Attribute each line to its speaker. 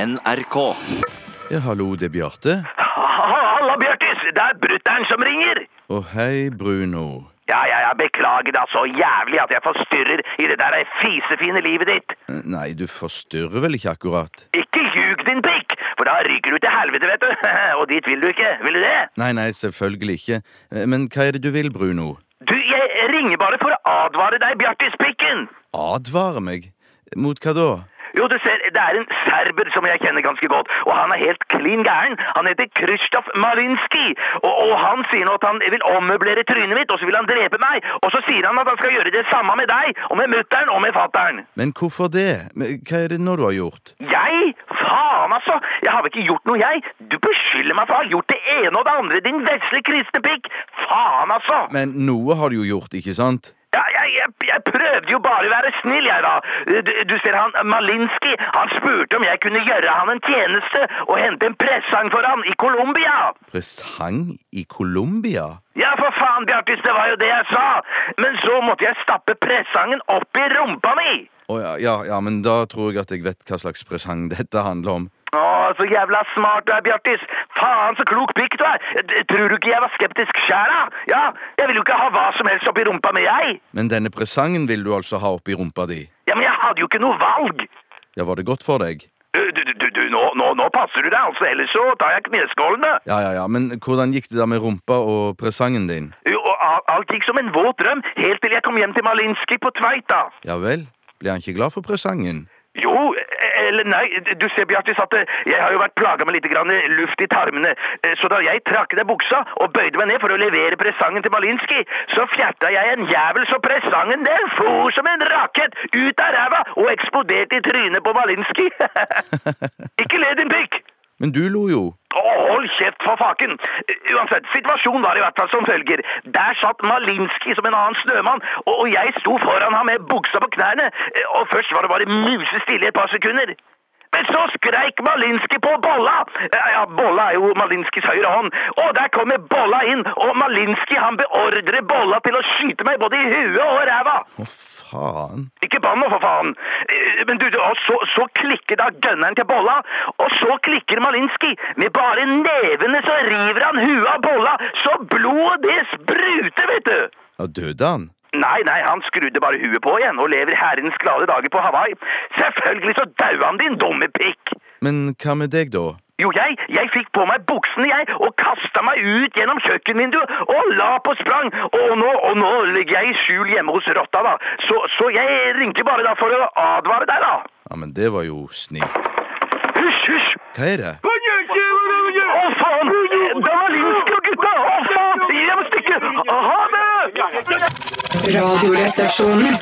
Speaker 1: NRK.
Speaker 2: Ja, hallo, det er Bjarte.
Speaker 3: Halla, Bjørtis! Det er brutter'n som ringer!
Speaker 2: Og hei, Bruno.
Speaker 3: Ja, ja, ja, beklager da så jævlig at jeg forstyrrer i det der fisefine livet ditt.
Speaker 2: Eh, Nei, du forstyrrer vel ikke akkurat?
Speaker 3: Ikke ljug din pikk, for da ryker du til helvete, vet du. Og dit vil du ikke, vil du det?
Speaker 2: Nei, nei, selvfølgelig ikke. Eh, Men hva er det du vil, Bruno?
Speaker 3: Du, jeg ringer bare for å advare deg, Bjørtis pikken.
Speaker 2: Advare meg? Mot hva da?
Speaker 3: Jo, du ser, det er en serber som jeg kjenner ganske godt, og han er helt klin gæren. Han heter Krzysztof Malinski, og, og han sier nå at han vil ommøblere trynet mitt, og så vil han drepe meg, og så sier han at han skal gjøre det samme med deg, og med mutteren og med fatteren.
Speaker 2: Men hvorfor det? Men Hva er det nå du har gjort?
Speaker 3: Jeg? Faen, altså! Jeg har vel ikke gjort noe, jeg? Du beskylder meg for å ha gjort det ene og det andre, din vesle kristne pikk! Faen, altså!
Speaker 2: Men noe har du jo gjort, ikke sant?
Speaker 3: Ja, jeg, jeg, jeg prøvde jo bare å være snill, jeg, da. Du, du ser han Malinski, han spurte om jeg kunne gjøre han en tjeneste og hente en presang for han i Colombia!
Speaker 2: Presang i Colombia?
Speaker 3: Ja, for faen, Bjartis, det var jo det jeg sa! Men så måtte jeg stappe presangen opp i rumpa mi!
Speaker 2: Å ja, ja, ja, men da tror jeg at jeg vet hva slags presang dette handler om.
Speaker 3: Å, så jævla smart du er, Bjartis. Faen, så klok pikk du er. D- Tror du ikke jeg var skeptisk sjæl, da? Ja, jeg vil jo ikke ha hva som helst oppi rumpa mi, jeg.
Speaker 2: Men denne presangen vil du altså ha oppi rumpa di?
Speaker 3: Ja, men jeg hadde jo ikke noe valg.
Speaker 2: Ja, var det godt for deg?
Speaker 3: Du, du, du, du, nå, nå, nå passer du deg, altså. Ellers så tar jeg kneskålene.
Speaker 2: Ja, ja, ja, men hvordan gikk det da med rumpa og presangen din?
Speaker 3: Jo, og al- alt gikk som en våt drøm, helt til jeg kom hjem til Malinski på Tveita.
Speaker 2: Ja vel, ble han ikke glad for presangen?
Speaker 3: Jo, e- eller nei, du ser, Bjartis, at eh, jeg har jo vært plaga med litt grann eh, luft i tarmene. Eh, Så da jeg trakk ned buksa og bøyde meg ned for å levere presangen til Malinski, så fjerta jeg en jævel så presangen den for som en rakett ut av ræva og eksploderte i trynet på Malinski. Ikke le, din pikk!
Speaker 2: Men du lo jo.
Speaker 3: Å, Hold kjeft for faken! Uansett, situasjonen var i hvert fall som følger. Der satt Malinski som en annen snømann, og og jeg sto foran ham med buksa på knærne, og først var det bare musestille i et par sekunder. Men så skreik Malinski på Bolla! Ja, ja, Bolla er jo Malinskis høyre hånd. Og der kommer Bolla inn, og Malinski han beordrer Bolla til å skyte meg både i huet og ræva!
Speaker 2: Å, faen.
Speaker 3: Ikke bann nå, for faen! Eh, Men du, du og så, så klikker da gønneren til bolla, og så klikker Malinski. Med bare nevene så river han huet av bolla, så blodet det spruter, vet du!
Speaker 2: Ja, døde han?
Speaker 3: Nei, nei, han skrudde bare huet på igjen og lever herrens glade dager på Hawaii. Selvfølgelig så daua han, din dumme pikk!
Speaker 2: Men hva med deg, da?
Speaker 3: Jo, jeg, jeg fikk på meg buksene, jeg, og kasta meg ut gjennom kjøkkenvinduet og la på sprang. Og nå, og nå ligger jeg i skjul hjemme hos rotta, da. Så, så jeg ringte bare da for å advare deg, da.
Speaker 2: Ja, men det var jo snilt.
Speaker 3: Hysj, hysj!
Speaker 2: Hva er det?
Speaker 3: Å, faen! Det var Linsk og gutta! Å, faen! Jeg må stikke! Ha det!
Speaker 4: Radioresepsjonen.